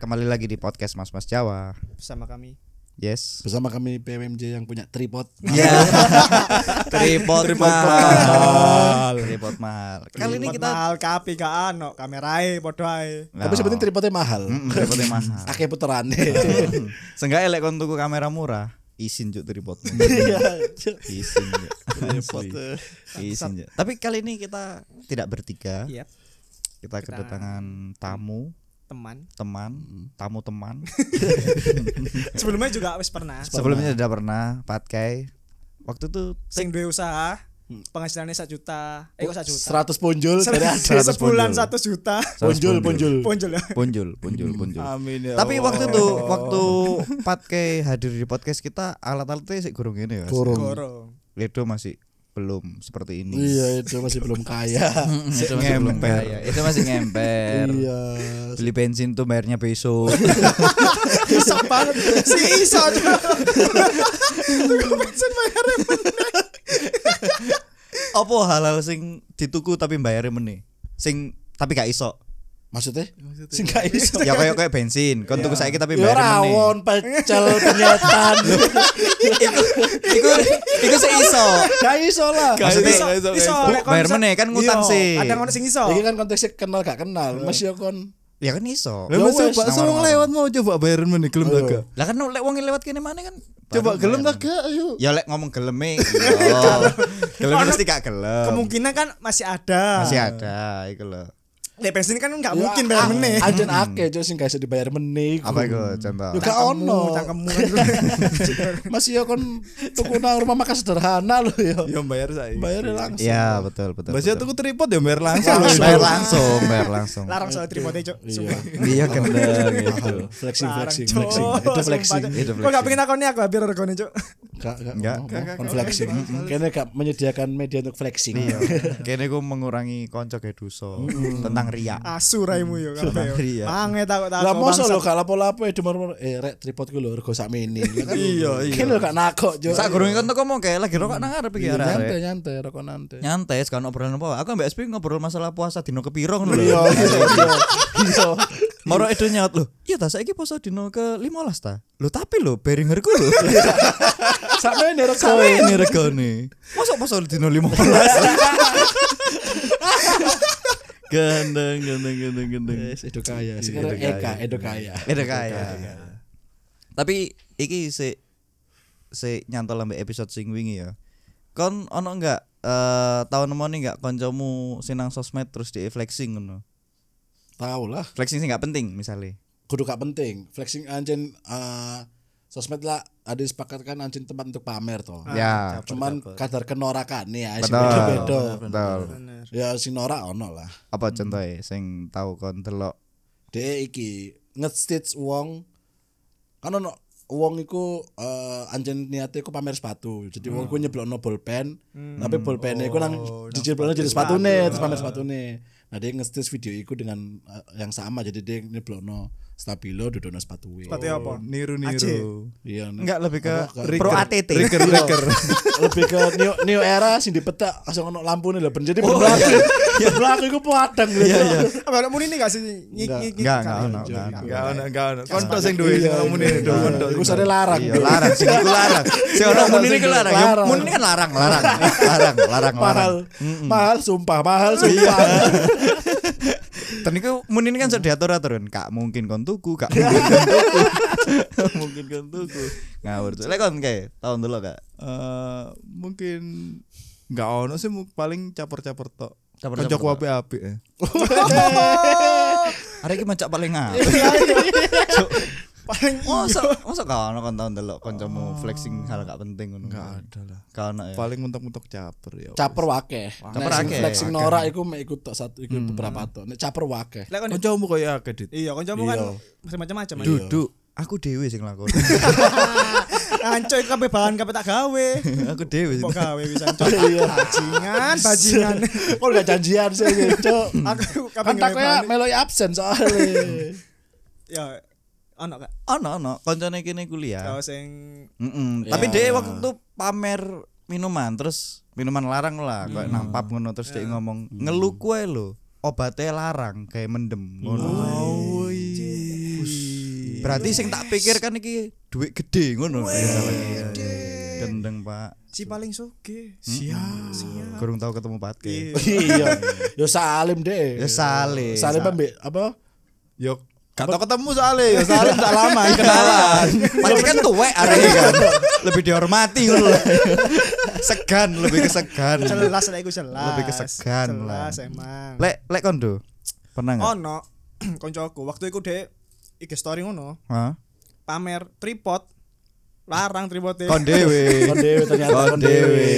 Kembali lagi di podcast Mas Mas Jawa. bersama kami. Yes. Bersama kami PWMJ yang punya tripod. Ya. Tripod mahal. Tripod mahal. Kali ini Tripod kita mahal kapi gak ano, kamerae podo ae. Nah. Tapi sebetulnya tripodnya mahal. Mm, tripodnya mahal. Eh, Akeh puteran. Seenggaknya lek kon tuku kamera murah, izin juk tripodmu. Izin. Iya, Juk. Tripod. Asli. Izin. Juk. Tapi kali ini kita tidak bertiga. Yep, Iya, Kita kedatangan tamu, teman. teman, tamu teman. Sebelumnya juga wis pernah. Sebelumnya sudah pernah patkai. Waktu itu Sing duwe usaha, penghasilannya 1 juta. Eh kok 1 juta. 100 punjul. Se- se- 100 Sebulan punjul. 1 juta. Punjul, punjul. Ponjol ya. Punjul, punjul, punjul. Amin ya. Tapi Allah. waktu itu waktu Patke hadir di podcast kita alat-alatnya sih gurung ini ya. Kurung. Goro. Ledo masih belum seperti ini. Iya, itu masih belum kaya. Itu masih ngemper. Itu masih ngemper. Iya. Beli bensin tuh bayarnya besok. Iso banget. Si iso. Tuh bensin bayar. Apa halal sing dituku tapi bayarnya meneh? Sing tapi gak iso. Maksudnya? Sing gak iso. Ya kayak kayak bensin, kon tuku saiki tapi Ya bayarnya meneh. rawon, pecel, penyetan. Iku iku sing iso. Gak iso lah. Gak Iso, iso, iso, gak iso, iso. gak iso. Lek Bayar konser- meneh, kan ngutang Iya, sih. Ada kono sing iso. Iki kan konteksnya kenal gak kenal. Mas yo kon. Ya kan iso. Nah, Ya wes, nama orang. mau coba bayaran meneh gelem Halo. Lah kan lek wong lewat kene mana kan Coba baru gelem bayar meneh. kagak ayo. Ya lek ngomong geleme. iya. Gelem mesti gak gelem. Kemungkinan kan masih ada. masih ada iku loh Lek bensin kan nggak mungkin bayar meneh. Ah, Ajen akeh cuk sing gak iso dibayar meneh. apa iku contoh Yo gak ono. Cangkemmu. kan. Mas yo kon tuku nang rumah makan sederhana lho yo. Iya, Ya bayar saya. Bayar langsung. ya betul betul Mas ya betul. tuku tripod ya bayar langsung. bayar langsung bayar langsung Larang soal tripode, Cuk. Sumpah. iya kan Mahal. iya. Flexing, flexing, flexing. Cuk. Itu Sumpah, flexing. Cuk. Itu Kok gak flexing. pengen takon aku hampir regone, Cuk. Enggak, Nggak, enggak. flexing. Kayaknya enggak menyediakan media untuk flexing. Iya. Iya. kene ku mengurangi konco kayak duso tentang ria Ah. Asu raimu yo kabeh. Iya. Ange takok takok. Lah mosok bangsat. lho gak lapo-lapo ya demar eh rek tripod ku lho rego sak mene. Iya, iya. Kan lho gak nakok yo. sak gurunge kan teko mau kayak lagi rokok nang arep iki arek-arek. nyantai nyantai rokok nanti. nyantai sekarang obrolan apa aku mbak SP ngobrol masalah puasa dino kepiro ngono Iya, lho iya, iya. Iya. Moro edo nyaut lho iya ta saiki puasa dino ke 15 ta lho tapi lho beringerku lho Sak mene rego. sampe ini regane mosok puasa dino 15 Gendeng gendeng gendeng gendeng. Wes, Edo kaya. Sekarang Eka, Edo kaya. Beda kaya. Gitu, ya. gitu, Tapi iki se se nyantol ambek episode sing wingi ya. Kon ono enggak eh tahun nemoni enggak koncomu sinang sosmed terus di flexing ngono. Tahu lah. Flexing sih enggak penting misalnya. kudu gak penting flexing anjen eh, sosmed lah ada disepakatkan anjen tempat untuk pamer toh ya, cuman kadar kenorakan nih ya sing Betul. beda-beda. betul. Bener. ya sing norak ono lah Apa contohnya sing tahu kon delok de iki nge-stitch wong kan ono wong iku eh, anjen niate iku pamer sepatu jadi wong iku nyeblokno bolpen Hmm. tapi bolpennya iku nang Oh, dijeblokno jadi Ah. sepatune terus pamer sepatune nah dia nge-stitch video iku dengan eh, yang sama jadi dia nyeblokno stabilo dudono sepatuwe Sepatu apa? Niru Aje. niru. iya nek- enggak lebih ke Apa, pro ATT. Trigger trigger. lebih ke new, new era sing dipetak langsung ono lampune lho ben jadi oh, berlaku iya. berlaku iku padang lho iya, Apa ada muni ini gak sih ngik ngik Enggak, enggak ono, enggak ono. Enggak ono enggak ono. Kontok sing duwe Iya, sing ngomong ini, do kontok. iku sare larang Iya larang sing iku larang. Sing ono mun ini larang. Ya Larang. mun ini kan larang, larang. Larang, larang, Iya. larang. mahal mahal sumpah mahal sumpah Dan iku mun ini kan sudah diatur-atur kan. Gak mungkin kon tuku, gak mungkin kon tuku. Mungkin kan tuku. Ngawur. Lek kon kae tahun dulu gak? Eh, mungkin enggak ono sih mu- paling caper-caper tok. Caper-caper Kancaku tok. apik-apik. eh. Hari ini macak paling ngap. iya, Paling Masa masa gak ono kon tahun delok kancamu flexing hal Oh. gak penting ngono. Enggak ada lah. Gak ono ya. Paling mentok-mentok caper ya. caper wakeh Caper Nek sing wakeh. flexing norak iku mek iku tok satu iku beberapa tok nek caper wakeh lek kon Kancamu koyo akeh dit. Iya, kancamu kan masih macam-macam. kan? Duduk aku dhewe sing lakon. Anco itu kabeh bahan kabeh tak gawe. aku dhewe sing. Kok gawe bisa anco. iya Bajingan, bajingan. kok gak janjian sih cuk Aku kan kabeh gawe takutnya bahan. melo absen soalnya Ya ono gak? Ono ono koncone kene kuliah. Kalau sing Mm-mm. Iya. Ya. Tapi dia waktu itu pamer minuman terus minuman larang lah kayak Hmm. nang pub ngono terus dia ngomong ngeluh kue lo obatnya larang kayak mendem ngono. Oh, Wih. Berarti sing tak pikirkan iki duit gede ngono. Iya, Gendeng, Pak. Si paling soge. Siap. Kurang tahu ketemu Pak. Ki. iya yo salim deh Ya sale. salim ambek apa Yo gak tau ketemu soalnya Eh, ya soalnya tak lama kenalan. Pasti kan tuwek arek kan. Lebih dihormati ngono lho. Segan, lebih kesegan. Jelas lah iku jelas. Lebih kesegan lah. Jelas emang. Lek lek kondo. Pernah enggak? Ono koncoku waktu iku dek IG story ngono Hah? pamer tripod larang tripod Kon dhewe. kon dewe ternyata Kon dhewe.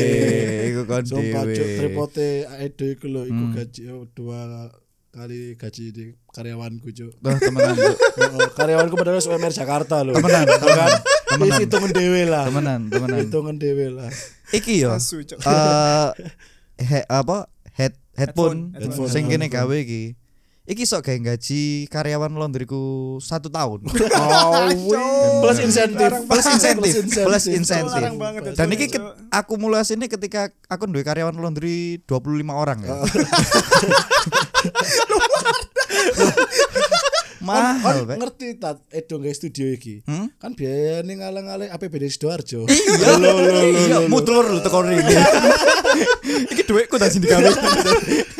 Iku kon sumpah cuk kan dhewe. Hmm. tripote aedo iku lho iku gaji oh, dua kali gaji di karyawanku cuk Duh, temenan. Cuk. Oh, karyawanku padahal wis UMR Jakarta lho kan? Temenan, temenan. Wis hitungan dhewe lah Temenan, temenan. hitungan dhewe lah Iki yo. Asu, Cuk. Eh he- apa head headphone, Headphone, sing kene gawe iki. Iki sok gawe gaji karyawan laundryku satu tahun. oh wih. plus insentif Oh, plus insentif, plus insentif. Larang banget, Dan Cuk. iki ket- akumulasi ini ketika aku duwe karyawan laundry 25 orang ya. Kon Mahal, Pak. Kan ngerti tat edo nggak studio iki Hmm? kan biaya nih ngalang-ngalang APBD Sidoarjo Iya, iya, mutlur lu teko ringi. Iki dhuwitku tak sing digawe.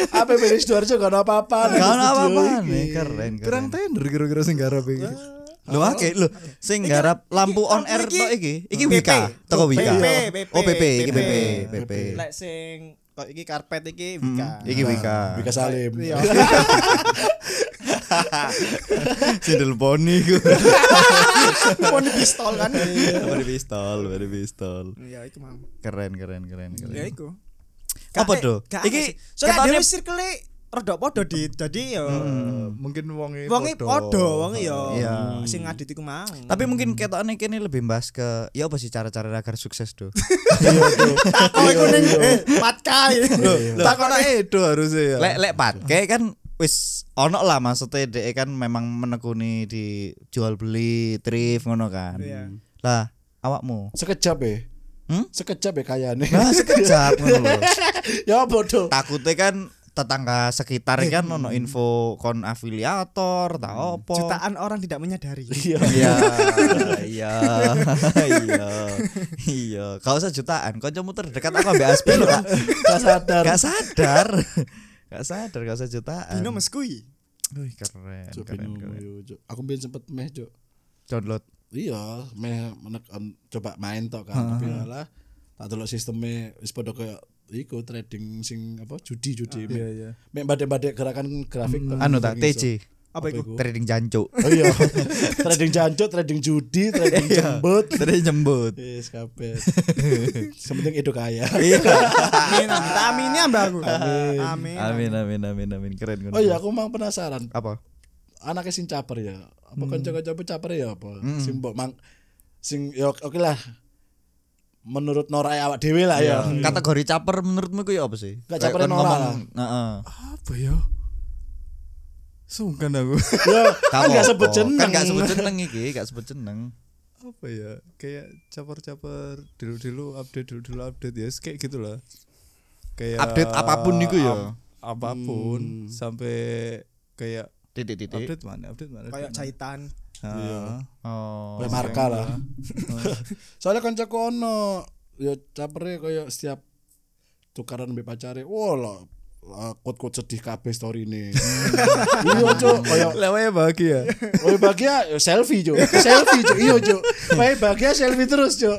APBD Sidoarjo gak ada apa-apa nih Gak studio ono apa-apa iki. nih, keren. kurang tender kira-kira sing garap iki Lho akeh lho sing garap lampu on air tok iki. Iki PP. Wika, toko Wika. PP, Oh PP, iki PP. PP, PP. Lek sing kok iki karpet iki Wika. Iki Wika. Ah. Wika Salim Iya. Sindel poni ku. Poni pistol kan. Bari pistol, bari pistol. Ya iku mau. Keren keren keren keren. Ya iku. Apa Gak- do? gak Iki sih. soalnya ketone- dhewe circle rada padha di dadi ya. mungkin wonge Wonge padha, wonge ya. Iya. Sing ngadit iku mau. Tapi mungkin ketokane kene lebih bahas ke ya apa sih cara-cara agar sukses do. takon iku ning eh patkai. takon ae do harusnya ya Iya, Lek lek pat, kayak kan wis ono lah maksudnya dhek kan memang menekuni di jual beli thrift ngono kan. Iya. Lah awakmu. sekejap ya Hmm? sekejap ya kayaknya Nah, sekejap ngono lho. ya bodoh takutnya kan tetangga sekitar ini Iya. kan ono info kon afiliator tak opo Jutaan orang tidak menyadari. iya iya iya iya kau usah jutaan kancamu terdekat aku ambil aspi lo kak gak sadar gak sadar gak sadar gak usah jutaan Dino meskui. Wih, keren Cuk, keren bingung keren yo, Cuk. aku pengen sempet meh cuk download iya meh menek em, coba main tok kan tapi lah tak delok sistemnya wis padha kayak iku trading sing apa Ah, judi judi iya iya meh badek-badek gerakan grafik tok. anu tak Trading iso. TC Apa iku? trading jancuk oh iya trading jancut trading judi trading Iya. jembut trading jembut Yes, kabeh. Sementing edo kaya. Iya, Amin. Amin ya Mbak aku. Amin. amin amin amin amin keren keren. Oh iya, aku mau penasaran. apa anaknya sing caper ya apa Hmm. kanca-kanca apa caper ya apa sing mbok mang sing ya oke lah menurut norai awak dhewe lah ya Hmm. kategori caper menurutmu ku ya apa sih Gak Kayak caper kon yang ora ngomong lah. Heeh. apa ya sungkan aku ya kan Gak gak sebut apa-apa. jeneng Kan gak sebut jeneng iki, gak sebut jeneng. apa ya kayak caper-caper dulu-dulu update dulu-dulu update ya kayak gitulah kayak Update apapun niku ya? ap- apapun sampai kayak Titik-titik. update mana update mana Kayak jahitan. Nah, Oh. Kayak marka lah soalnya kancaku ono ya capere kaya setiap tukaran mbek pacare wah lah kot-kot sedih kabeh story ini Hmm. iya cok kaya lewatnya bahagia Wae bahagia ya selfie jo, selfie Iya, jo, iyo jo. Wae bahagia selfie terus jo.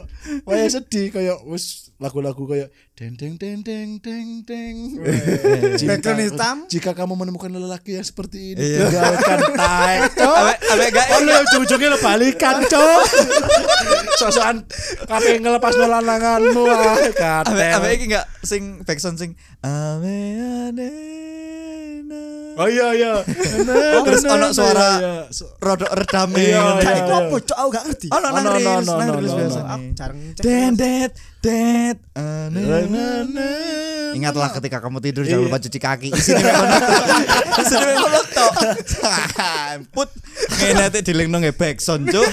Wae sedih kayak wis lagu-lagu kayak deng deng deng deng deng deng. Jika- Background hitam. Jika kamu menemukan lelaki yang seperti ini, Iya. tinggalkan tae. Cok. Abe abe gak Oh lu yang ujung-ujungnya lo balikan cok. Sosokan kape ngelepas lananganmu ah abe abe katel. iki gak sing backsound sing abe ane na. Oh iya iya. Terus ono suara Iya, iya. rodok redame. Iya, ngono. iya. Kayak iku apa cok aku gak ngerti. Ono nang Ono, ono, reels, ono, nang ono, reels ono, biasa. Aku jarang Den det det ane Nah, na. Nanana. Ingatlah ketika kamu tidur jangan lupa cuci kaki. Sini memang Iya. Sini memang laptop. Put ngenate dilingno nge backson, Cuk.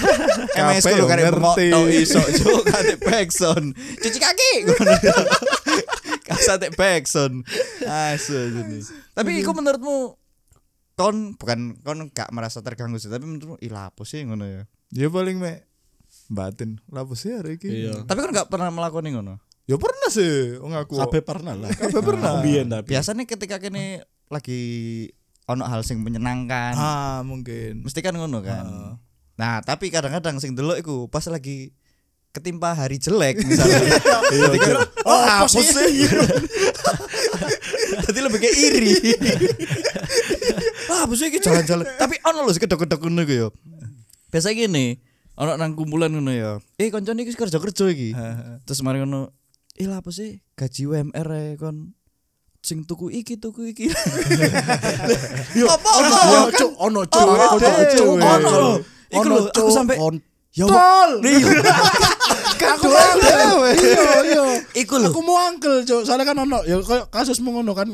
MS Kabeh kudu yo karep mok ngerti. tau iso, Cuk, kate backson. Cuci kaki. Kasate backson. Asu ini. Tapi iku menurutmu kon bukan kon gak merasa terganggu sih tapi menurutmu ih lapo sih ngono ya ya paling mek batin lapo sih hari ini Iya. tapi kon gak pernah melakukan ngono ya pernah sih ngaku Kabeh pernah lah. Kabeh pernah. Biyen tapi. biasanya ketika kini lagi ono hal sing menyenangkan ah mungkin mesti kan ngono kan nah tapi kadang-kadang sing delok iku pas lagi ketimpa hari jelek misalnya ketika oh apa sih jadi lebih kayak iri ah apa sih iki jalan-jalan tapi ono lho kedok-kedok ngono iku yo biasa gini ono nang kumpulan ngono ya eh kanca iki kerja-kerja iki terus mari ngono eh lah apa sih gaji UMR e kon sing tuku iki tuku iki Yo, Apa, ono, apa? ono, cuk, Kan ono cuk, Oh, ono ada, cuk, cuk. Ono, cuk. lho. Iku Ono, lho, aku cuk, sampe- on- ya tol aku dewe Kan Iya, iya. iku lho Aku mau angkel cuk, soalnya kan ono ya koyo kasus ngono kan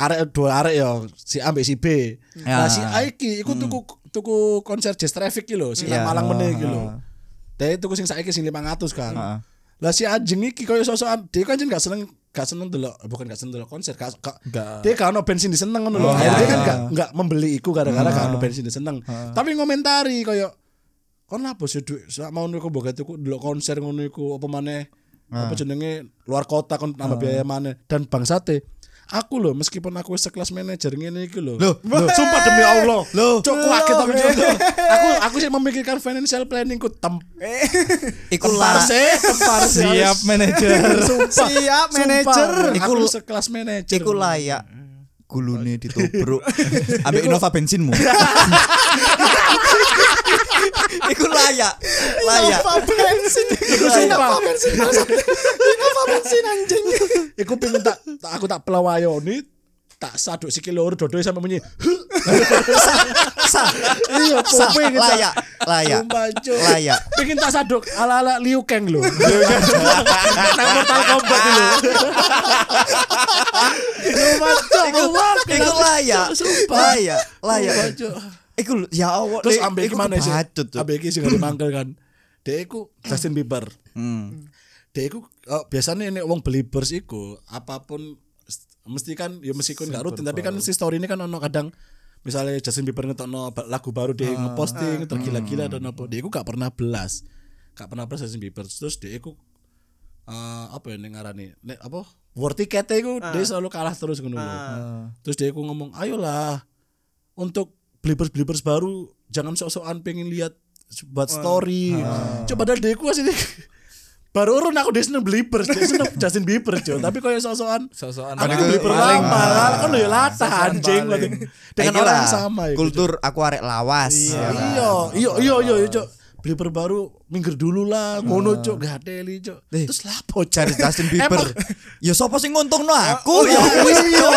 arek dua arek ya si A mbek si B. Ya. Hmm. Nah si A iki iku tuku tuku konser Jazz Traffic iki lho, sing Ya. nang Malang meneh iki lho. Dhewe tuku sing saiki sing 500 kan. Heeh. Lah si anjing iki koyo sosokan dhewe kan jeneng gak seneng gak seneng delok bukan gak seneng delok konser gak gak Gak. dia gak ono bensin diseneng ngono Oh, lho. ya. Akhirnya dia kan gak gak membeli iku gara-gara gak ono bensin diseneng. Tapi ngomentari koyo kon lah bos duit sak mau niku mbok tuku delok konser ngono iku apa maneh apa jenenge luar kota kon tambah biaya maneh dan bangsate aku lho meskipun aku wis sekelas manajer ngene iki lho Loh, loh. sumpah demi Allah Loh. cok kaget aku Cok. aku aku sih memikirkan financial planningku tem iku tempar lah sih tempar sih siap manajer sumpah Siap, Sumpah. Iya. manajer. aku Iku- sekelas manajer iku layak gulune ditobruk ambek Innova bensinmu iku layak layak Apa bensin? Iku sumpah. Apa bensin anjing? Iku pengen tak, tak- aku tak pelawayoni tak saduk sikil lur dodoi sampe menyi. sah Iya, sah popo iki, Cak. layak layak Sumpah, Cuk. layak Iya, Pengen tak saduk ala-ala Liu Kang lho. Nang Mortal Kombat lho. Sumpah, Cuk. iku Sumpah, iku kenapa, layak Cuk? Sumpah. layak layak Sumpah, Cuk. iku lho, ya Allah Terus Dek, ambek iku iki mana sih? kebacut, Cuk. Ambek iki sing ada mangkel kan. Dek iku Justin Bieber. Hmm. Dek iku eh, biasanya ini wong believers iku apapun s- mesti kan ya meskipun gak rutin tapi kan si story ini kan ono kadang misalnya Justin Bieber ngetokno ba- lagu baru Ah, dia ngeposting Hmm. tergila-gila dan apa dia iku gak pernah belas gak pernah belas Justin Bieber terus dia iku eh, apa ya nek ngarani nek apa war tiketnya iku dia selalu kalah terus ngono lho. Ah. terus dia iku ngomong ayolah untuk believers believers baru jangan sok-sokan pengen lihat buat story coba padahal dia iku asli baru urun aku dia seneng believers dia seneng Justin Bieber cuy tapi kau sok-sokan Sok-sokan aku paling- believer paling. lama lah kan lo ya latah anjing lah paling. dengan Iku orang lah, yang sama ya Nah, kultur aku arek lawas ya kan? iya iya iya iya iya cuy believers baru minggir dulu lah ngono cuy gak teli cuy terus lapo dari cari Justin Bieber. Emang- Oh, ya sapa sing nguntungno aku ya wis yo.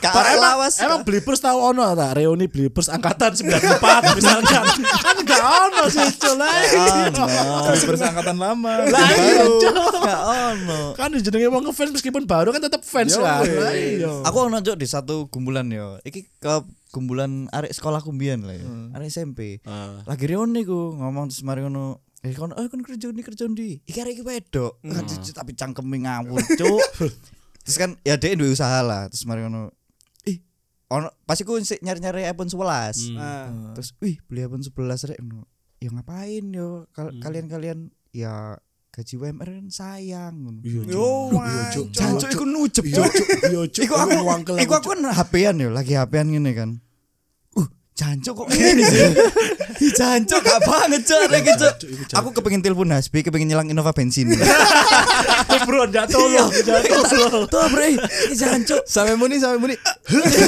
Gak Pak, arek Iya. emang, lawas. emang Blippers tahu ono ta reuni Blippers angkatan 94 misalkan kan gak ono sih cuy lah Tapi persangkatan lama Lah, iya, Cuk. Gak ono. kan jenenge wong ngefans meskipun baru kan tetap fans lah Lah, iya Aku ono Cuk, di satu kumpulan yo. Iki ke kumpulan arek sekolahku mbiyen lah ya. Arek SMP. Lagi reuni ku ngomong terus mari ngono. Eh kon eh kon kerja ndi kerja ndi? Iki arek iki wedok. Ah, Cuk, Tapi cangkeme ngawur, Cuk. terus kan ya dhek duwe usaha lah. Terus mari ngono. Ih, ono pasti ku sik nyari-nyari iPhone 11. Hmm. Nah, terus wih beli iPhone 11 rek ngono. ya ngapain yo Kal- kalian-kalian ya gaji WMR kan sayang Iya. Yo, ngono Cuk. anjing. Jancuk iku nujep Iya, yo Cuk. Iya, Cuk. iku aku Emang wangkel iku aku Cuk. kan HP-an yo lagi HP-an ngene kan iya. uh jancuk kok ngene sih Ih, jancuk gak banget cuk Rek, Cuk. Iya, Jancuk, iku jancuk. aku kepengin telepon Hasbi kepengin nyelang Innova bensin bro jatuh iya. loh jatuh loh tuh bre ini jancuk sampai muni sampai muni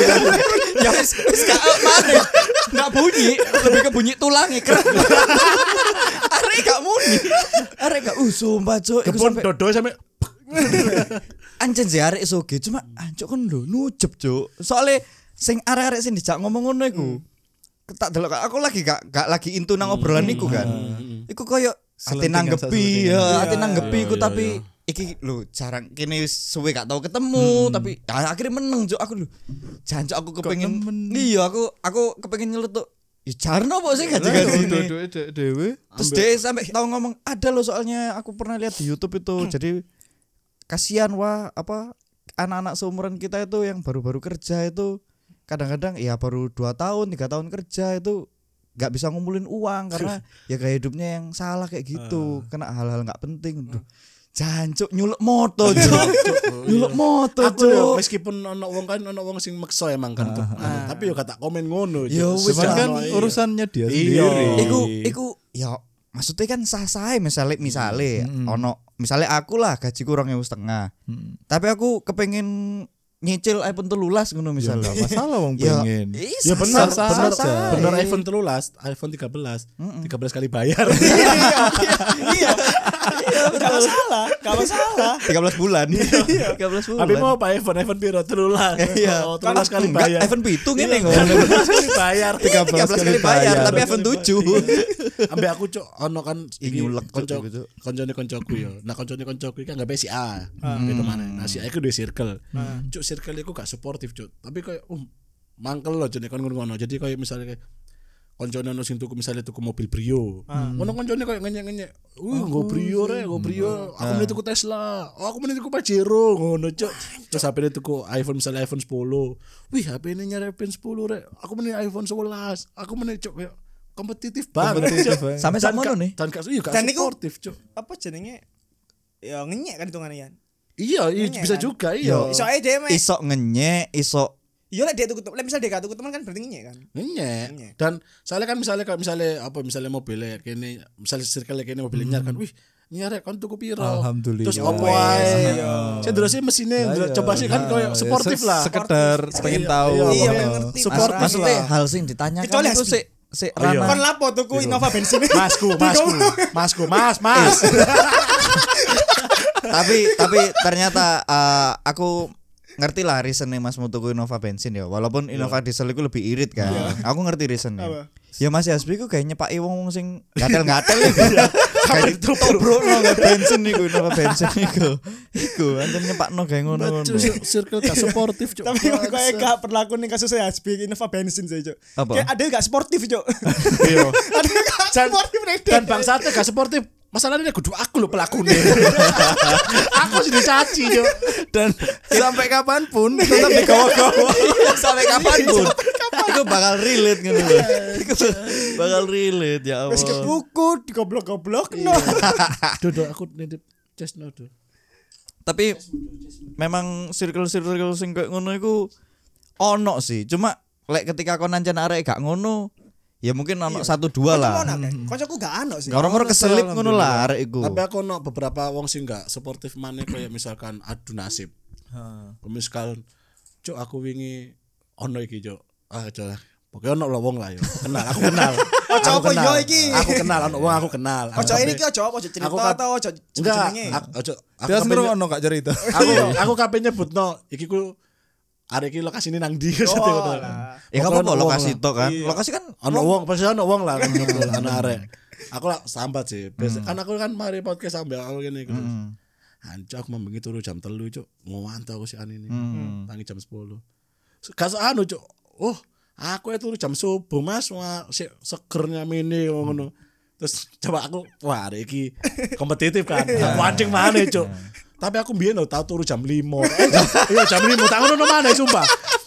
ya wis wis gak mari gak bunyi lebih ke bunyi tulangnya kan arek gak muni arek gak uh sumpah cuk iku kebun sampe- dodo sampe Anjen sih arek soge cuma ancuk kan lho nujep cuk. Soale sing arek-arek sing dijak ngomong ngono iku. Hmm. Tak delok aku lagi gak gak lagi intu nang obrolan iku kan. Iku koyo ati Hmm. Selentingan, nanggepi selentingan. ya, ati nanggepi iku tapi iki lho jarang kene wis suwe gak tau Hmm. ketemu tapi ah, akhirnya meneng cuk aku lho. Jancuk aku kepengin iya aku aku kepengin nyeletuk. Ya jarno apa sih iya, gaji-gaji ini. dewe Terus dia sampai tahu ngomong ada loh soalnya aku pernah lihat di YouTube itu. Jadi kasihan wah apa anak-anak seumuran kita itu yang baru-baru kerja itu kadang-kadang ya baru dua tahun tiga tahun kerja itu nggak bisa ngumpulin uang karena ya gaya hidupnya yang salah kayak gitu kena hal-hal nggak penting Duh, jancuk nyuluk moto Cuk. nyuluk moto Aku ya, Cuk. meskipun ono wong kan ono wong sing meksa emang kan. tuh. Tapi yo kata komen ngono. Ya Cuk. wis, Cuman Cuman kan ono, iya. urusannya dia Iya. sendiri. iku iku ya maksudnya kan sah sah misalnya misalnya Hmm, ono misalnya aku lah gaji kurang yang setengah Hmm. tapi aku kepengen nyicil iPhone telulas ngono Ya misalnya nggak masalah wong Ya, pengen. iya, sah-sah, Ya benar, benar, sah-sah. benar iya, iPhone telulas, iPhone 13, 13 kali bayar. iya, Gak masalah, gak masalah. 13 bulan. 13 bulan. Iya. Tapi mau pak iPhone iPhone piro telulas, Iya. oh, telulas kali Enggak, bayar. iPhone pitu ngene Iya, ngono. 13 kali bayar. 13 kali bayar, tapi iPhone Iya. 7. Ambek aku cok ono kan iki Nyulek, Cuk, konco iku, Cuk. koncone koncoku yo. Nah koncone koncoku iki kan gak si A. Gitu mana. Nah si A iku duwe circle. Cuk circle iku gak suportif cuk. Tapi koyo um, mangkel loh jenenge kon ngono. Jadi koyo misalnya kayak koncone ono sing tuku misalnya tuku mobil Brio. Ono koncone koyo ngenyek-nyenyek. Ah, Uh, nggo Brio re, nggo hmm. Brio. Aku mending tuku Tesla. Oh, aku mending tuku Pajero ngono cuk. Terus HP-ne tuku iPhone misalnya iPhone 10. Wih, HP-ne nyari iPhone 10 re. Aku mending iPhone 11. Aku mending cuk kayak kompetitif banget. Kompetitif Cuk. banget. Ah, Sampai Dan sama gak- ngono nih. Dan gak iya, gak Dan niku- suportif, Cuk. Apa jenenge? Ya ngenyek kan hitungannya ya. Iya, iya Iya bisa kan? juga, iya. Soalnya dia meh. Isok ngenyek, isok Iya lah dia tuku teman, misal dia gak tuku teman kan berarti ngenyek kan. Iya. Ngenyek. Dan soalnya kan misalnya kalau misalnya apa misalnya mobilnya kene misalnya circle kene mobilnya nyar kan, wih, nyarek kon tuku piro. Alhamdulillah. Terus opo ae. Saya dulu sih mesinnya Lah, dulu- iya. coba sih kan Nah, koyo ya, sportif se- lah. Sekedar Sportif. pengen Iya, tahu. iya, Iya, Oh. pengen ngerti. Mas- Mas- Maksudnya Mas- hal sing ditanyakan Kecuali itu Hasbi. sik sik Oh, iya. Kon ranah. lapo tuku Innova bensin. Masku, masku, masku, mas, mas. tapi tapi ternyata eh, aku ngerti lah reasonnya Mas Mutuku Innova bensin ya. Iya. Walaupun Innova diesel itu lebih irit kan. Aku ngerti Apa? reasonnya. Ya Mas Hasbi ku kayak nyepaki wong-wong sing gatel-gatel Iya. ya. Kayak Bro, Ono nggak bensin iku, Innova bensin iku. Iku anjen nyepakno gawe ngono-ngono. Nah, circle gak suportif, Cuk. Tapi kok kayak gak perlaku nih kasusnya Hasbi Innova bensin sih, Cuk. Apa? Kayak ada yang gak sportif, Cuk. Iya. ada yang gak Dan- sportif nih. dan bangsatnya gak sportif masalahnya kudu aku loh pelakunya aku sudah caci yo dan sampai kapanpun tetap di kawa-kawa sampai kapanpun itu bakal relate gitu loh Iku bakal relate ya Wis Allah kebuku digoblok-goblok Iya. no. dodo aku nitip Cesno do tapi memang circle-circle sing kayak ngono iku ono sih cuma lek ketika kon nancen arek gak ngono ya mungkin ono satu dua lah Kocokku gak ano sih. orang-orang keselip ngono lah arek iku tapi aku no beberapa wong sing gak sportif mana kayak misalkan adu nasib misalkan cok aku wingi ono iki cok ah cok lah. pokoknya ono lah wong lah yo kenal aku kenal Ojo apa aku kenal yo iki? aku kenal ono wong aku kenal Ojo Sampai- ini ki ojo apa ojo cerita Aku kan- atau ojo enggak jenenge. aku- ojo aku Dia sampai- ngerungokno gak cerita. aku aku kape nyebut no iki ku arek iki lokasi ini nang ndi Oh, gitu lah. ya kamu apa Pokoknya ono lokasi wong to kan Iya. lokasi kan lah. ono wong pasti ono wong lah ono arek aku lah sambat sih Biasa- kan aku kan mari podcast sambil aku gini gitu Anco aku membengi turu jam telu cuk ngowanto aku si an ini tangi jam 10 kasus anu cuk oh aku ya turu jam subuh mas wah si segernya mini ngono terus coba aku wah arek iki kompetitif kan aku anjing mana cuk tapi aku biyen tau turu jam 5 iya jam 5 tak ngono mana sumpah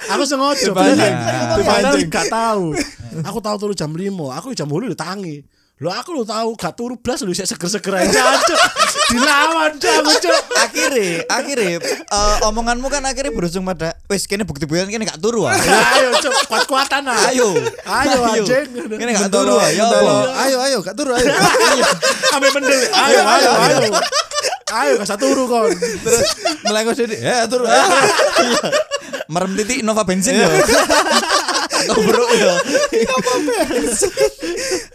aku sengaja bener. Aku padahal gak tahu aku tahu turu jam 5 aku jam 8 udah tangi lo aku lo tahu gak turu blas lu seger-seger aja cuk dilawan cuk aku cuk akhirnya akhirnya eh, omonganmu kan akhirnya berujung pada wes kene bukti buktian kene gak turu ah Ya, ayo cuk kuat-kuatan ah. ayo Ayo, anjing. kene gak turu ah ya Bentar, apa? lo. Ayo ayo gak turu ayo. Ambe mendel. Ayo ayo ayo. Ayo gak usah turu kon. terus melengos jadi ya turu ah. Iya. merem titik Nova bensin ya bro ya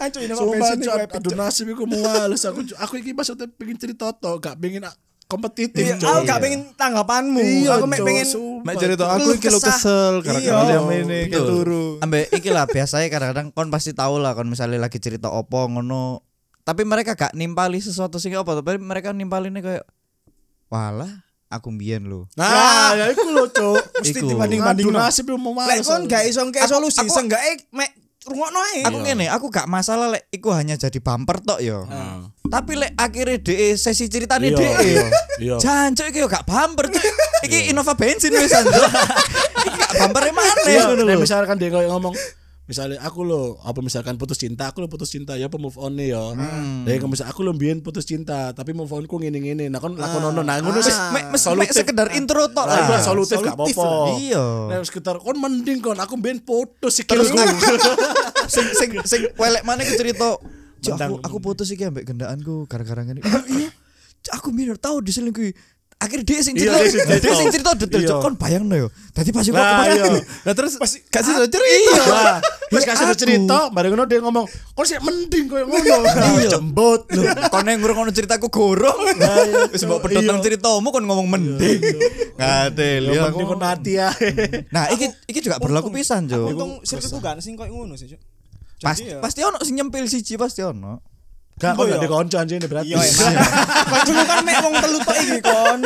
Anco Innova Sumpah bensin cuk aduh nasib iku muales aku Cuk. aku iki maksudnya pengen cerita to gak pengen a- kompetitif Iya, Cuk. aku gak pengen tanggapanmu. Iya, aku mek Cuk, pengen sumpah. Mek cerita aku iki lo Kesah. kesel karena Iya. kalian ini kayak Betul. turu. Ambe iki lah biasanya kadang-kadang kon pasti tahu lah kon misalnya lagi cerita opo ngono. Tapi mereka gak nimpali sesuatu sing apa, tapi mereka nimpalinnya kayak walah aku mbiyen lho. Nah, ya iku lho cuk. mesti Iku. dibanding-banding. Aduh, nasib Lek iku muales. kon gak iso ngkei solusi, aku- seenggake mek rungokno ae. Aku ngene, aku gak masalah lek iku hanya jadi bumper tok yo. Tapi lek akhirnya de sesi ceritane Hmm. Iya, de. iya, iya. Jancuk iki yo gak bumper cuk. Iki Innova bensin wis anjo. Iki gak bumper mana Iya, ngono nek lho. misalkan dia kayak ngomong misalnya aku lo apa misalkan putus cinta aku lo putus cinta ya apa move on nih ya hmm. kayak misal aku lo mbien putus cinta tapi move onku ngene ngene nah kon lakon ono nah ngono sih Mek mes mek sekedar intro tok Nah, itu lah. solutif gak Ah. Solutif apa-apa. lah. Iya. Nah, sekitar kon mending kon aku mbien putus sikil Terus ngomong. Iya. sing sing sing welek mana ku cerita "Cuk, aku aku putus iki ambek gendaanku gara-gara ngene. "Ah, Iya. Cuk, Aku minor tau diselingkuhi. Akhirnya dia sing Iya, cerita, dia sing cerita. dia sing cerita detail. Iya. Cuk, kon bayangno yo. Dadi pas iku aku Nah, kemarin- iya. Ah, Nah terus kasih tau cerita. Iya. Nah, terus Ya, kasih aku. cerita, bareng ngono dia ngomong, "Kon sih mending koyo ngono." Iya. Jembut. Loh, kon yang ngurung ngono ceritaku gorong. iya. Wis mbok pedhot nang ceritamu kon ngomong mending. Ngatel Ya ya. Iya, mending kon mati ya. Nah, iki iki juga berlaku pisan, Cuk. Untung circleku gak sing koyo ngono sih, Cuk. Jadi Pasti ya- pasti ono sing nyempil siji pasti ono. Gak kon Iya. ya? gak ada konco anjing ini berarti. Iya emang. Kancamu kan mek wong telu tok iki kon.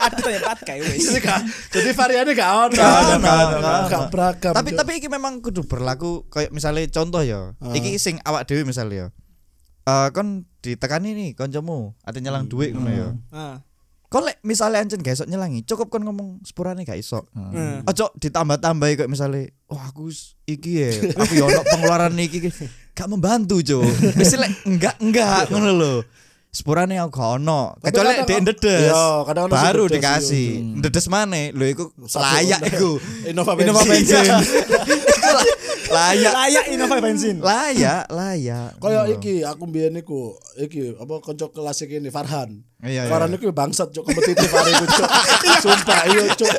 Ada tanya pat kae wis. Jadi gak- Jadi variannya gak ono. ono, gak ono. Gak beragam. tapi tapi iki memang kudu berlaku kayak misalnya contoh ya. Iki sing awak dhewe misalnya ya. Eh kon ditekani nih kancamu, ate nyelang duit ngono ya. Ah. Kon lek misale ancen gak iso nyelangi, cukup kon ngomong sepurane gak iso. Ojo ditambah-tambahi kayak misalnya, wah aku s- iki ya, aku yo ono pengeluaran iki iki." gak membantu, Jo. Wis lek enggak enggak ngono lho. Sepurane aku gak ono. Tapi Kecuali kadang- dia ndedes. Iya, kadang ono sing baru ndedes, dikasih. iya. Ndedes maneh, lho iku Satu- layak iku. Innova Innova Bensin. bensin. Iku la- layak Layak Innova bensin. layak layak Kaya iki aku mbiyen niku iki apa kanca kelas iki ini Farhan. Iya, iya. Farhan niku bangsat cuk kompetitif hari iku cuk. Sumpah iya cuk.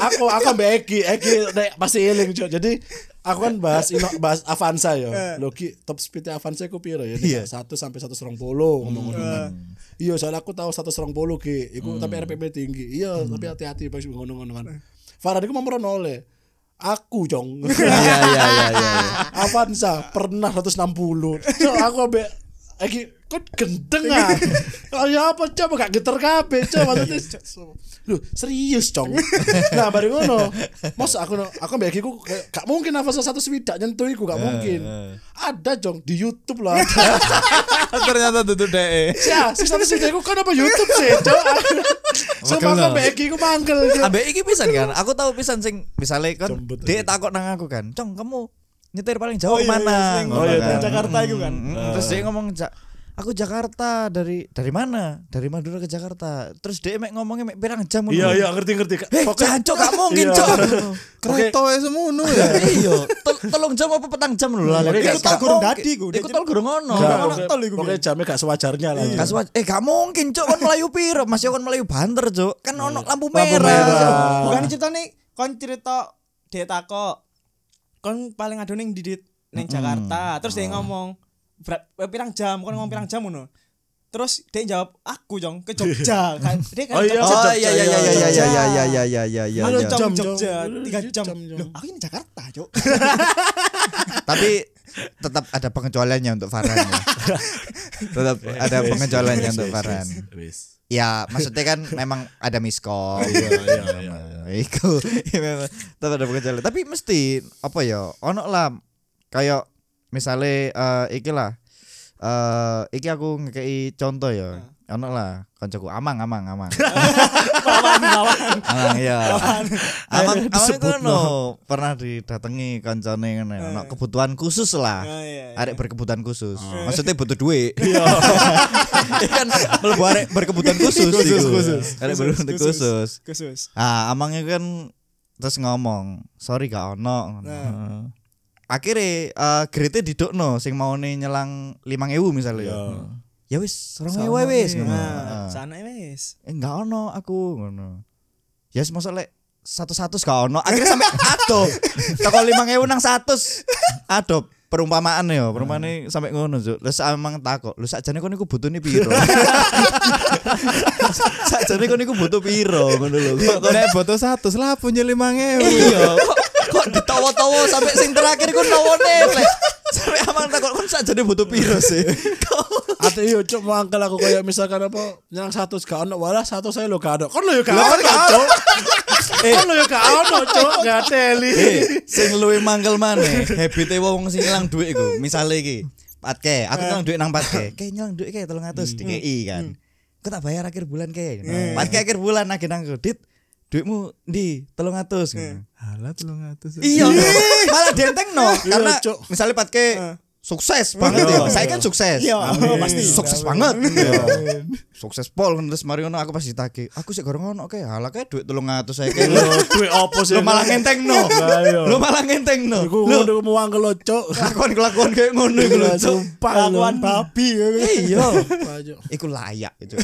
Aku aku mbek Egi, Egi nek pasti eling cuk. Jadi aku kan bahas ino, bahas Avanza ya. Lho Ki, top speed Avanza iku piro ya? Iya. Nek 1 sampai 120 Hmm. ngomong-ngomong. kan. Iya, soalnya aku tahu 120 Ki. Iku tapi Hmm. RPM tinggi. Iya, tapi hati-hati pas ngono-ngono kan. Farhan iku memeran oleh aku jong. iya iya iya iya Avanza pernah 160. Cok, aku ambek Eki, kok gendeng ah. Kaya apa coba gak geter kabeh, cok maksudnya. Lu serius, Cong. Nah, baru ngono. Mas aku no- aku ambek Eki ku kayak, gak mungkin Avanza satu swidak nyentuh iku Iya, gak mungkin. Ada, Cong, di YouTube lah. Ternyata tutup deh. Ya, sing satu swidak iku kan apa YouTube sih, Cok. Cuma Mangkel aku lah. ambek Eki ku mangkel, Cok. Ambek iki pisan kan aku tahu pisan sing misalnya kan Jembut. dia takut nang aku kan cong kamu nyetir paling jauh mana sing- Ngono Oh iya, kan. dari Jakarta iku kan. Mm, terus dia ngomong "Ja- aku Jakarta dari dari mana dari Madura ke Jakarta terus dia mek ngomongnya mek pirang jam ngono. Iya, iya, ngerti-ngerti. Heh, jancok gak mungkin, Iya. Cok. Kereta wae semono ya. Iya, tel- telung jam apa petang jam lho lah. Pokoknya Iku gak- tol gak- dadi iku. Iku tol gurung ono. Gak, Ono pokoknya- tol iku. Pokoknya jamnya gak sewajarnya lah. Gak sewa- eh gak mungkin cok kan Melayu piro Mas yo kan Melayu banter cok Kan ono lampu merah, Lampu merah. Ah. Bukan cerita nih kon cerita dia takok. Kon paling ado ning didit ning Jakarta. Terus dia Ah. ngomong "Berat- eh, pirang jam, kon ngomong pirang jam ngono. Terus dia jawab aku jong ke Jogja. Kan- dia kan Oh iya, Jogja. Oh iya iya iya iya iya iya iya iya iya iya iya Halo iya. jam Jam, Jogja jam. tiga jam. Jam, jam. Loh, aku ini Jakarta, Cuk. Tapi tetap ada pengecualiannya untuk Farhan ya. Tetap ada pengecualiannya untuk Farhan Wis. Ya maksudnya kan memang ada miskom iya, iya. Iku ya memang tetap ada pengecualian Tapi mesti apa ya Ono lah Kayak misalnya eh Iki lah eh Iki aku ngekei contoh ya Ono lah Koncoku amang amang amang Lawan lawan. Amang ya. Amang amang Ah, itu no pernah didatangi kancane ngene ono kebutuhan khusus lah. Oh iya. Arek berkebutuhan khusus. Maksudnya butuh duit. Eh. Iya. kan mlebu arek berkebutuhan khusus Khusus, iku. khusus. Arek berkebutuhan khusus. Khusus. Ah, amangnya kan terus ngomong, "Sorry gak ono." Nah. Akhirnya eh grade didokno sing maune nyelang 5000 misalnya. ya. Ya wis, 2000 wae wis. ngono. Nah, Ah. sana wis. eh nggak ono aku ngono ya yes, masa lek satu satu gak ono akhirnya sampai aduh toko lima ewu nang satu aduh perumpamaan ya perumpamaan sampai ngono Cuk. lu emang takok lu sakjane kon iku butuh piro sakjane kon iku butuh piro ngono lho Kok- kok- Nek foto satu lah punya lima ngewu. iya kok kok ditawa-tawa sampai sing terakhir kon nawone lek sampai amang takok kon sakjane butuh piro sih Kok- Atau iya cuk mangkel aku kayak misalkan apa yang satu gak ono walah satu saya lo gak ono. Kon lo yo gak Lah, kan ono gak cuk. Kon lo yo gak ono cuk, gak teli. Eh, sing luwih mangkel maneh habite wong sing ilang dhuwit iku. Misale iki, patke, aku nyelang dhuwit nang patke. Ke nyelang dhuwit ke Hmm. 300 dikei kan. Ku tak bayar Nah, Hmm. akhir bulan ke. Patke akhir bulan nagih nang kredit, dhuwitmu ndi? 300 ngono. Ha, Alah 300. Iya, malah denteng no. Iya, Karena Cuk. misalnya patke sukses banget ya. Saya kan sukses. Hmm. Iya, Amin. pasti. Sukses banget. Iya. Sukses pol terus Mariono aku pasti tagih. Aku sih gorong ono kayak ala kayak duit 300 saya kayak Iya. lo. Eh, duit opo sih Lo malah ngenteng no. Ayo. Lo malah ngenteng no. Iku ngono mau angkel lo, Cuk. Kelakuan-kelakuan kayak ngono iku lho. Cuk. Sumpah lo. Kelakuan babi. ya. Iya. Sumpah, Cuk. Iku layak itu.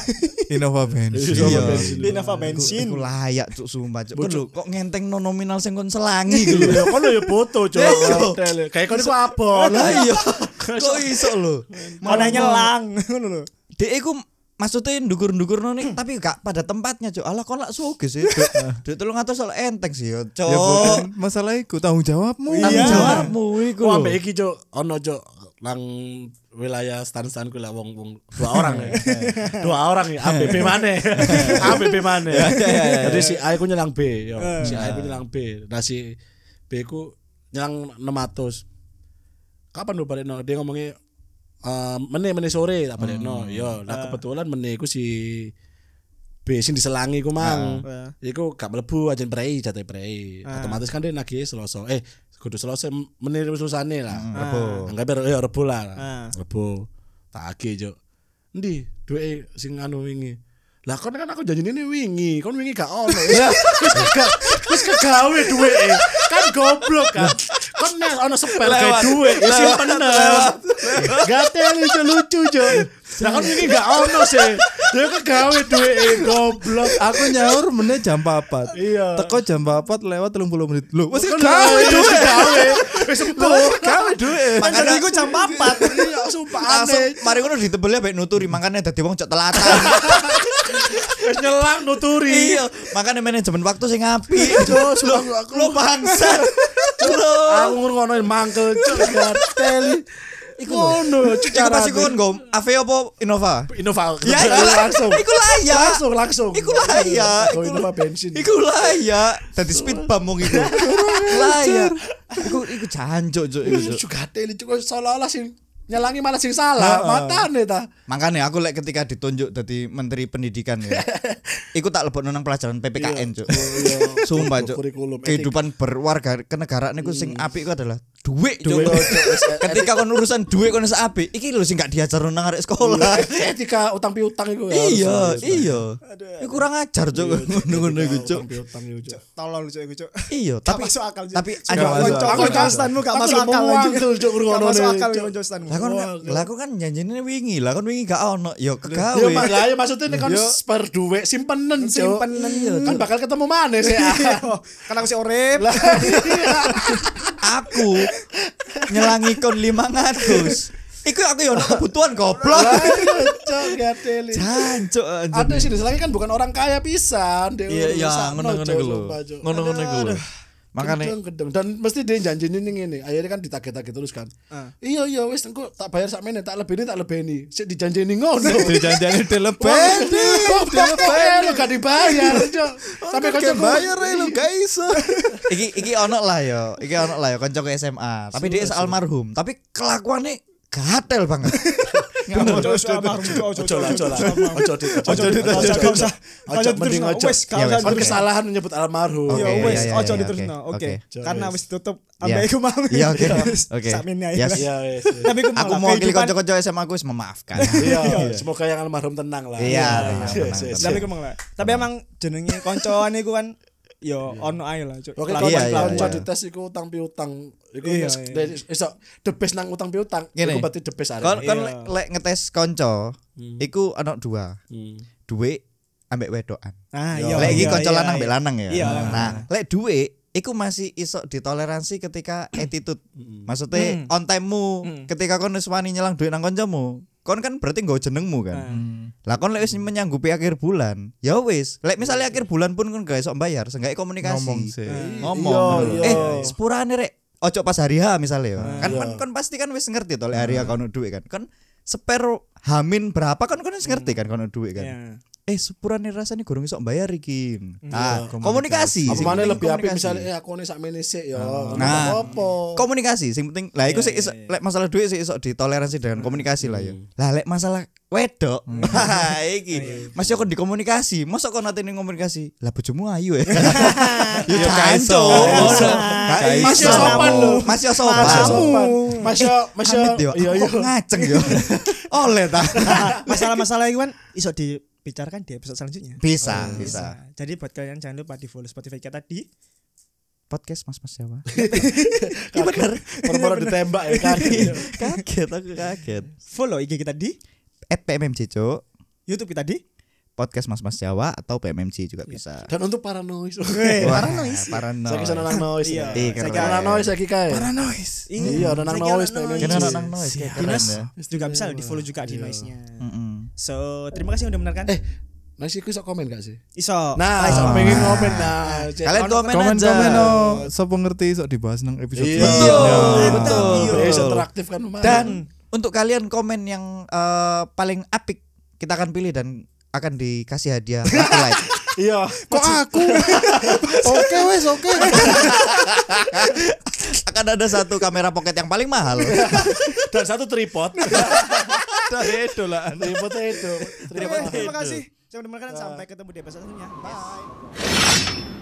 Innova bensin. Iya. Di Nova bensin. Iku layak cuk sumpah cuk. Kok lho, kok ngenteng no nominal sing kon selangi iku lho. Iya, Kan lo ya foto, Cuk. Iya. Hotel, ya. Kayak kan iku abon. Lah iya. Kok iso lho. Mana nyelang ngono lho. Dek iku maksudnya ndukur-ndukur nih tapi gak pada tempatnya cok alah kon lak sugih sih Dek. duit tolong atas soal enteng sih yo cok Ya Oh. bukan masalah iku tanggung jawabmu. Iya. tanggung jawabmu iku Ku lho. ambek iki, Cuk. Ono, Cuk. Nang wilayah stan-stan ku lah wong-wong dua orang Eh. ya. Dua orang ya ABB mana? ABB mana? Eh, Jadi si A ku nyelang B, yo. Si A ku nyelang B. Nah si B ku nyelang 600. Kapan lu balik Dia ngomongnya eh meneh meneh sore tak balik Hmm. Yo, Eh. nah kebetulan meneh ku si B sing diselangi ku mang. Eh. Ah. Iku gak mlebu ajen prei jate prei. Otomatis kan dia nagih Selasa. Eh, kudu Selasa meneh Selusane lah. Rebo. Anggap ya Rebo lah. Ah. Rebo. Tak agih juk. Endi duwe sing anu wingi? Lah kon kan aku janjine ini wingi, kon wingi gak ono. Ya, wis kega- wis kegawe duwe. Kan goblok kan. Kon nek ono sepel gawe ya duwe, isi penes. Gatel lucu lucu juk. Lah kon wingi gak ono sih. Dia kegawe duwe goblok. Aku nyaur meneh jam 4. Iya. Teko jam 4 lewat 30 menit. Lho, wis Kon gawe wis duit. Gawe. Wis sembuh. Gawe duit. Padahal iku jam 4. Iya, sumpah langsung aneh. mari ngono ditebelnya baik nuturi makanya dadi wong cok telatan Wis nyelang nuturi. iya makanya manajemen waktu sing apik Cuk, sumpah aku- aku lo bangsa aku ngono mangkel cuk gateli. Iku ngono Iku pasti kon gom Ave apa Innova Innova. ya iku lah- langsung. iku layak Langsung langsung. iku layak Go Oh, Innova bensin. Iku layak Tadi speed bump mung iku Layak Iku iku jancuk cuk iku cuk. Cuk gateli cuk seolah-olah sing nyelangi malah sing salah. Matane ta. Makanya aku lek ketika ditunjuk jadi menteri pendidikan ya. iku tak lebokno nang pelajaran PPKN cuk. Sumpah cuk. Kurikulum, etik. Kehidupan berwarga kenegaraan iku sing apik iku adalah duit cuk. Duit, cuk. Wis, etik. ketika kon urusan duit kon wis apik, iki lho sing gak diajarno nang arek nah. sekolah. Etika utang piutang iku. ya, harus, iya, harus. iya. Iku kurang ajar cuk ngono-ngono iku cuk. Utang piutang iku cuk. Tolol lucu iku, Cuk. Iya, Gak tapi masuk akal, Cuk. tapi Cuk, ada Gak masuk konco- akal. konco stanmu gak Aku masuk udah akal mau anjing. wangkel, Cuk, Gak ngono masuk nih, akal Cuk. konco stanmu. Lah kon lah kon kan janjine wingi, lah kon wingi gak ono, ya kegawe. Ya Mas, lah ya maksudnya ini kan spare duit simpenen cuk. Simpenen. Kan bakal ketemu mana sih? ah. Kan aku si urip. Lah iya. aku nyelangi kon 500. Iku aku yo ono kebutuhan goblok. Ayo, Cuk, gateli. Jancuk anjir. Ada sih diselangi kan bukan orang kaya pisan. Dia Iya urusan iya no, ngono-ngono Cuk, iku lho. sumpah, Cuk. Ngono-ngono iku lho. Makane Gedeng, gedeng. dan mesti dia janji ini ngene. Akhirnya kan ditagih-tagih terus kan. Iya iya wis engko tak bayar sak meneh, tak lebeni tak lebeni. Sik dijanjeni ngono. Dijanjani dilebet. Beli, beli, gak dibayar, Cuk. Sampai kocok eh, bayar eh, ae lho, guys. iki iki ono lah yo, iki ono lah yo kancaku SMA. Tapi dia almarhum, tapi kelakuannya gatel banget. Bener. Ojo ojo Ojo lah, ojo lah. Ojo dit, ojo Ojo dit, dit, ojo dit. ojo dit. Ojo Ojo mending diterusno. ojo. Wes, gak usah Ya, wes, Kan oke. diterusno. kesalahan menyebut almarhum. Ya Oke, ya, wes, ya, ojo ya, diterusno. oke, Oke. oke. Karena wis tutup Ya. ambek iku mau. Ya, oke. Oke. Sakmene ae. Yes. Iya, wes. wes. Tapi iku Aku malah mau ngili kehidupan- kanca-kanca SMA aku wis memaafkan. Iya, semoga yang almarhum tenang lah. Iya, Yes, tenang, yes, tenang, yes. tenang. Tapi iku malah. Tapi emang jenenge koncoan iku kan yo ono ae lah, Cuk. Oke, Kelakuan- iya, kawan iya, kawan iya. jadi tes iku utang piutang. Iku Iya, wes- iya. dari- iso the best nang utang piutang. Gini. Iku berarti the best Kon arek. kon Iya. lek- lek ngetes kanca, iku ono dua. Duit ambek wedokan. Ah, iya. Lek iki iya, kanca iya, lanang iya. mbek lanang ya. Iya. Nah, lek duwe iku masih iso ditoleransi ketika attitude. Maksudnya on time-mu ketika kon wis wani nyelang duit nang kancamu, kon kan berarti nggo jenengmu kan. Lah kon lek wis menyanggupi akhir bulan, ya wis. Lek misalnya akhir bulan pun kon gak iso bayar, seenggaknya komunikasi. Ngomong sih. Ngomong. Iya, eh, iya. sepurane rek. Ojo pas hari H misalnya ya. Kan Iya. kon, kon pasti kan wis ngerti Hmm. to lek hari H kono duit kan. Kon spare hamin berapa kan kon wis ngerti kan kono duit kan. Iya. eh sepurane rasane gorong iso bayar iki. Hmm. Iya, Nah, komunikasi. Apa sing mana penting lebih apik iya, komunikasi. misalnya eh aku nih sak sik ya. Nah. Nah, apa? komunikasi sing penting lah iku sih iso- lek masalah duit sih iso ditoleransi dengan komunikasi lah ya lah lek masalah wedok haha, iki masih kok dikomunikasi masa kok nanti komunikasi lah bojomu ayu ya ya kanco Masih sopan lho. masih Masya sopan Nah, sopan. Masya masya. Eh, Amit yo, Iya aku iya. kok ngaceng yo. Oleh ta. Nah, Masalah-masalah itu kan iso dibicarakan di episode selanjutnya. Nah, Bisa, Iya, bisa. Jadi buat kalian jangan lupa di follow Spotify kita tadi. Podcast Mas Mas Jawa. Iya bener. Perempuan ditembak ya kan. Iya. kaget aku kaget. Follow IG kita di At PMMC Cuk. YouTube kita di Podcast Mas Mas Jawa atau PMMC juga bisa. Dan untuk paranoid. Wah, Paranoid. Iya. Paranoid. Saya kesana nang noise. Iya. Ih, Saya keren. kira noise saya ya. kira. Paranoid. Iya, ada nang noise PMMC. Kena anak noise kayak keren Dinas ya. Iya, juga bisa di follow juga di noise-nya. Mm-mm. So, terima kasih udah mendengarkan. Eh, Noise iku iso komen gak sih? Iso. Nah, iso pengen komen nah. Oh. Ah. Cek. Kalian komen, komen aja. komen no sapa ngerti sok dibahas nang episode Iya. selanjutnya. Betul. Bisa interaktif kan lumayan. Iya. Dan untuk kalian komen yang eh, paling apik kita akan pilih dan akan dikasih hadiah like. iya. kok aku oke wes oke akan ada satu kamera pocket yang paling mahal. Dan satu tripod. itu lah Tripodnya itu. Terima kasih. Terima kasih. Saya udah mendengarkan sampai ketemu di episode selanjutnya. Bye.